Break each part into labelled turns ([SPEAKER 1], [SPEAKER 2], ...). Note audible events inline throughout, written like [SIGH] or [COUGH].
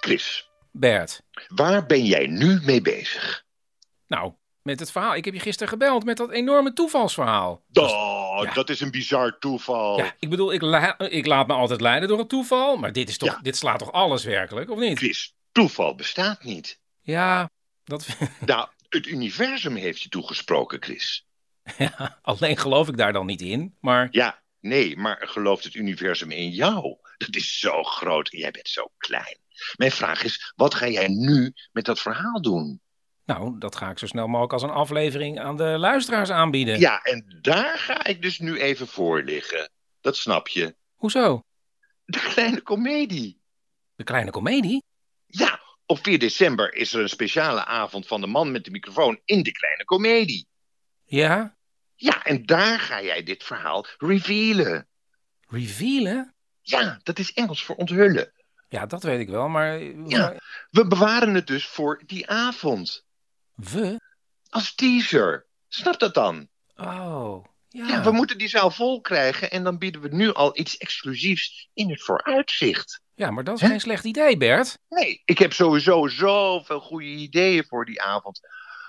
[SPEAKER 1] Chris,
[SPEAKER 2] Bert.
[SPEAKER 1] waar ben jij nu mee bezig?
[SPEAKER 2] Nou, met het verhaal. Ik heb je gisteren gebeld met dat enorme toevalsverhaal.
[SPEAKER 1] Oh,
[SPEAKER 2] ja.
[SPEAKER 1] dat is een bizar toeval.
[SPEAKER 2] Ja, ik bedoel, ik, la- ik laat me altijd leiden door het toeval. Maar dit, is toch,
[SPEAKER 1] Ja.
[SPEAKER 2] dit slaat toch alles werkelijk, of niet?
[SPEAKER 1] Chris, toeval bestaat niet.
[SPEAKER 2] Ja, dat,
[SPEAKER 1] Nou, het universum heeft je toegesproken, Chris.
[SPEAKER 2] ja, [LAUGHS] alleen geloof ik daar dan niet in. Maar
[SPEAKER 1] Ja, nee, maar gelooft het universum in jou? Dat is zo groot en jij bent zo klein. Mijn vraag is, wat ga jij nu met dat verhaal doen?
[SPEAKER 2] nou, dat ga ik zo snel mogelijk als een aflevering aan de luisteraars aanbieden.
[SPEAKER 1] Ja, en daar ga ik dus nu even voor liggen. Dat snap je.
[SPEAKER 2] Hoezo?
[SPEAKER 1] De kleine komedie.
[SPEAKER 2] De kleine komedie?
[SPEAKER 1] Ja, op 4 december is er een speciale avond van de man met de microfoon in de kleine komedie.
[SPEAKER 2] Ja.
[SPEAKER 1] Ja, en daar ga jij dit verhaal revealen.
[SPEAKER 2] Revealen?
[SPEAKER 1] Ja, dat is Engels voor onthullen.
[SPEAKER 2] Ja, dat weet ik wel, maar...
[SPEAKER 1] Ja. We bewaren het dus voor die avond.
[SPEAKER 2] We?
[SPEAKER 1] Als teaser. Snap dat dan?
[SPEAKER 2] Oh, ja.
[SPEAKER 1] Ja, we moeten die zaal vol krijgen en dan bieden we nu al iets exclusiefs in het vooruitzicht.
[SPEAKER 2] Ja, maar dat is
[SPEAKER 1] Hè?
[SPEAKER 2] geen slecht idee, Bert.
[SPEAKER 1] Nee, ik heb sowieso zoveel goede ideeën voor die avond.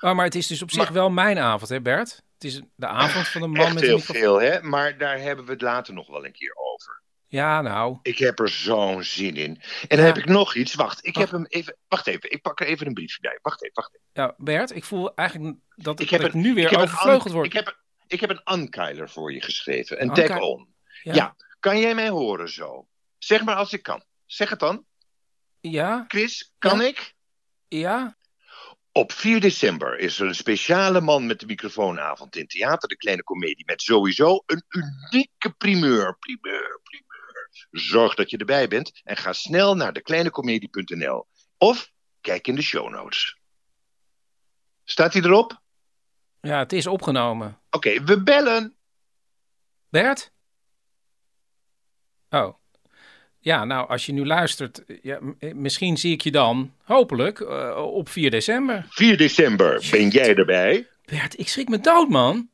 [SPEAKER 2] Oh, maar het is dus op zich
[SPEAKER 1] Maar-
[SPEAKER 2] wel mijn avond, hè, Bert? Het is de avond van de man
[SPEAKER 1] Echt
[SPEAKER 2] met de
[SPEAKER 1] heel
[SPEAKER 2] microfoon.
[SPEAKER 1] veel, hè? Maar daar hebben we het later nog wel een keer over.
[SPEAKER 2] Ja, nou.
[SPEAKER 1] Ik heb er zo'n zin in. En dan
[SPEAKER 2] Ja.
[SPEAKER 1] heb ik nog iets. Wacht, ik
[SPEAKER 2] Wacht.
[SPEAKER 1] heb hem even. Wacht even, ik pak er even een briefje bij. Wacht even, wacht even.
[SPEAKER 2] Ja, Bert, ik voel eigenlijk dat
[SPEAKER 1] Ik
[SPEAKER 2] ik,
[SPEAKER 1] heb
[SPEAKER 2] dat ik
[SPEAKER 1] een-
[SPEAKER 2] nu weer
[SPEAKER 1] ik heb een
[SPEAKER 2] overvleugeld
[SPEAKER 1] an-
[SPEAKER 2] word.
[SPEAKER 1] Ik heb, een- ik heb een Ankyler voor je geschreven. Een
[SPEAKER 2] Anky-
[SPEAKER 1] tag-on.
[SPEAKER 2] Ja.
[SPEAKER 1] Ja. kan jij mij horen zo? Zeg maar als ik kan. Zeg het dan.
[SPEAKER 2] Ja,
[SPEAKER 1] Chris, kan
[SPEAKER 2] Ja.
[SPEAKER 1] ik?
[SPEAKER 2] ja.
[SPEAKER 1] Op 4 december is er een speciale man met de microfoonavond in Theater de Kleine Comedie. Met sowieso een unieke primeur. Primeur, primeur. Zorg dat je erbij bent en ga snel naar dekleinecomedie.nl. Of kijk in de show notes. Staat hij erop? Oké,
[SPEAKER 2] Ja, het is opgenomen.
[SPEAKER 1] we bellen.
[SPEAKER 2] Bert? Oh. Ja, nou, als je nu luistert, ja, m- eh, misschien zie ik je dan, hopelijk, eh, op 4 december.
[SPEAKER 1] 4 december, ben jij erbij?
[SPEAKER 2] Bert, ik schrik me dood, man.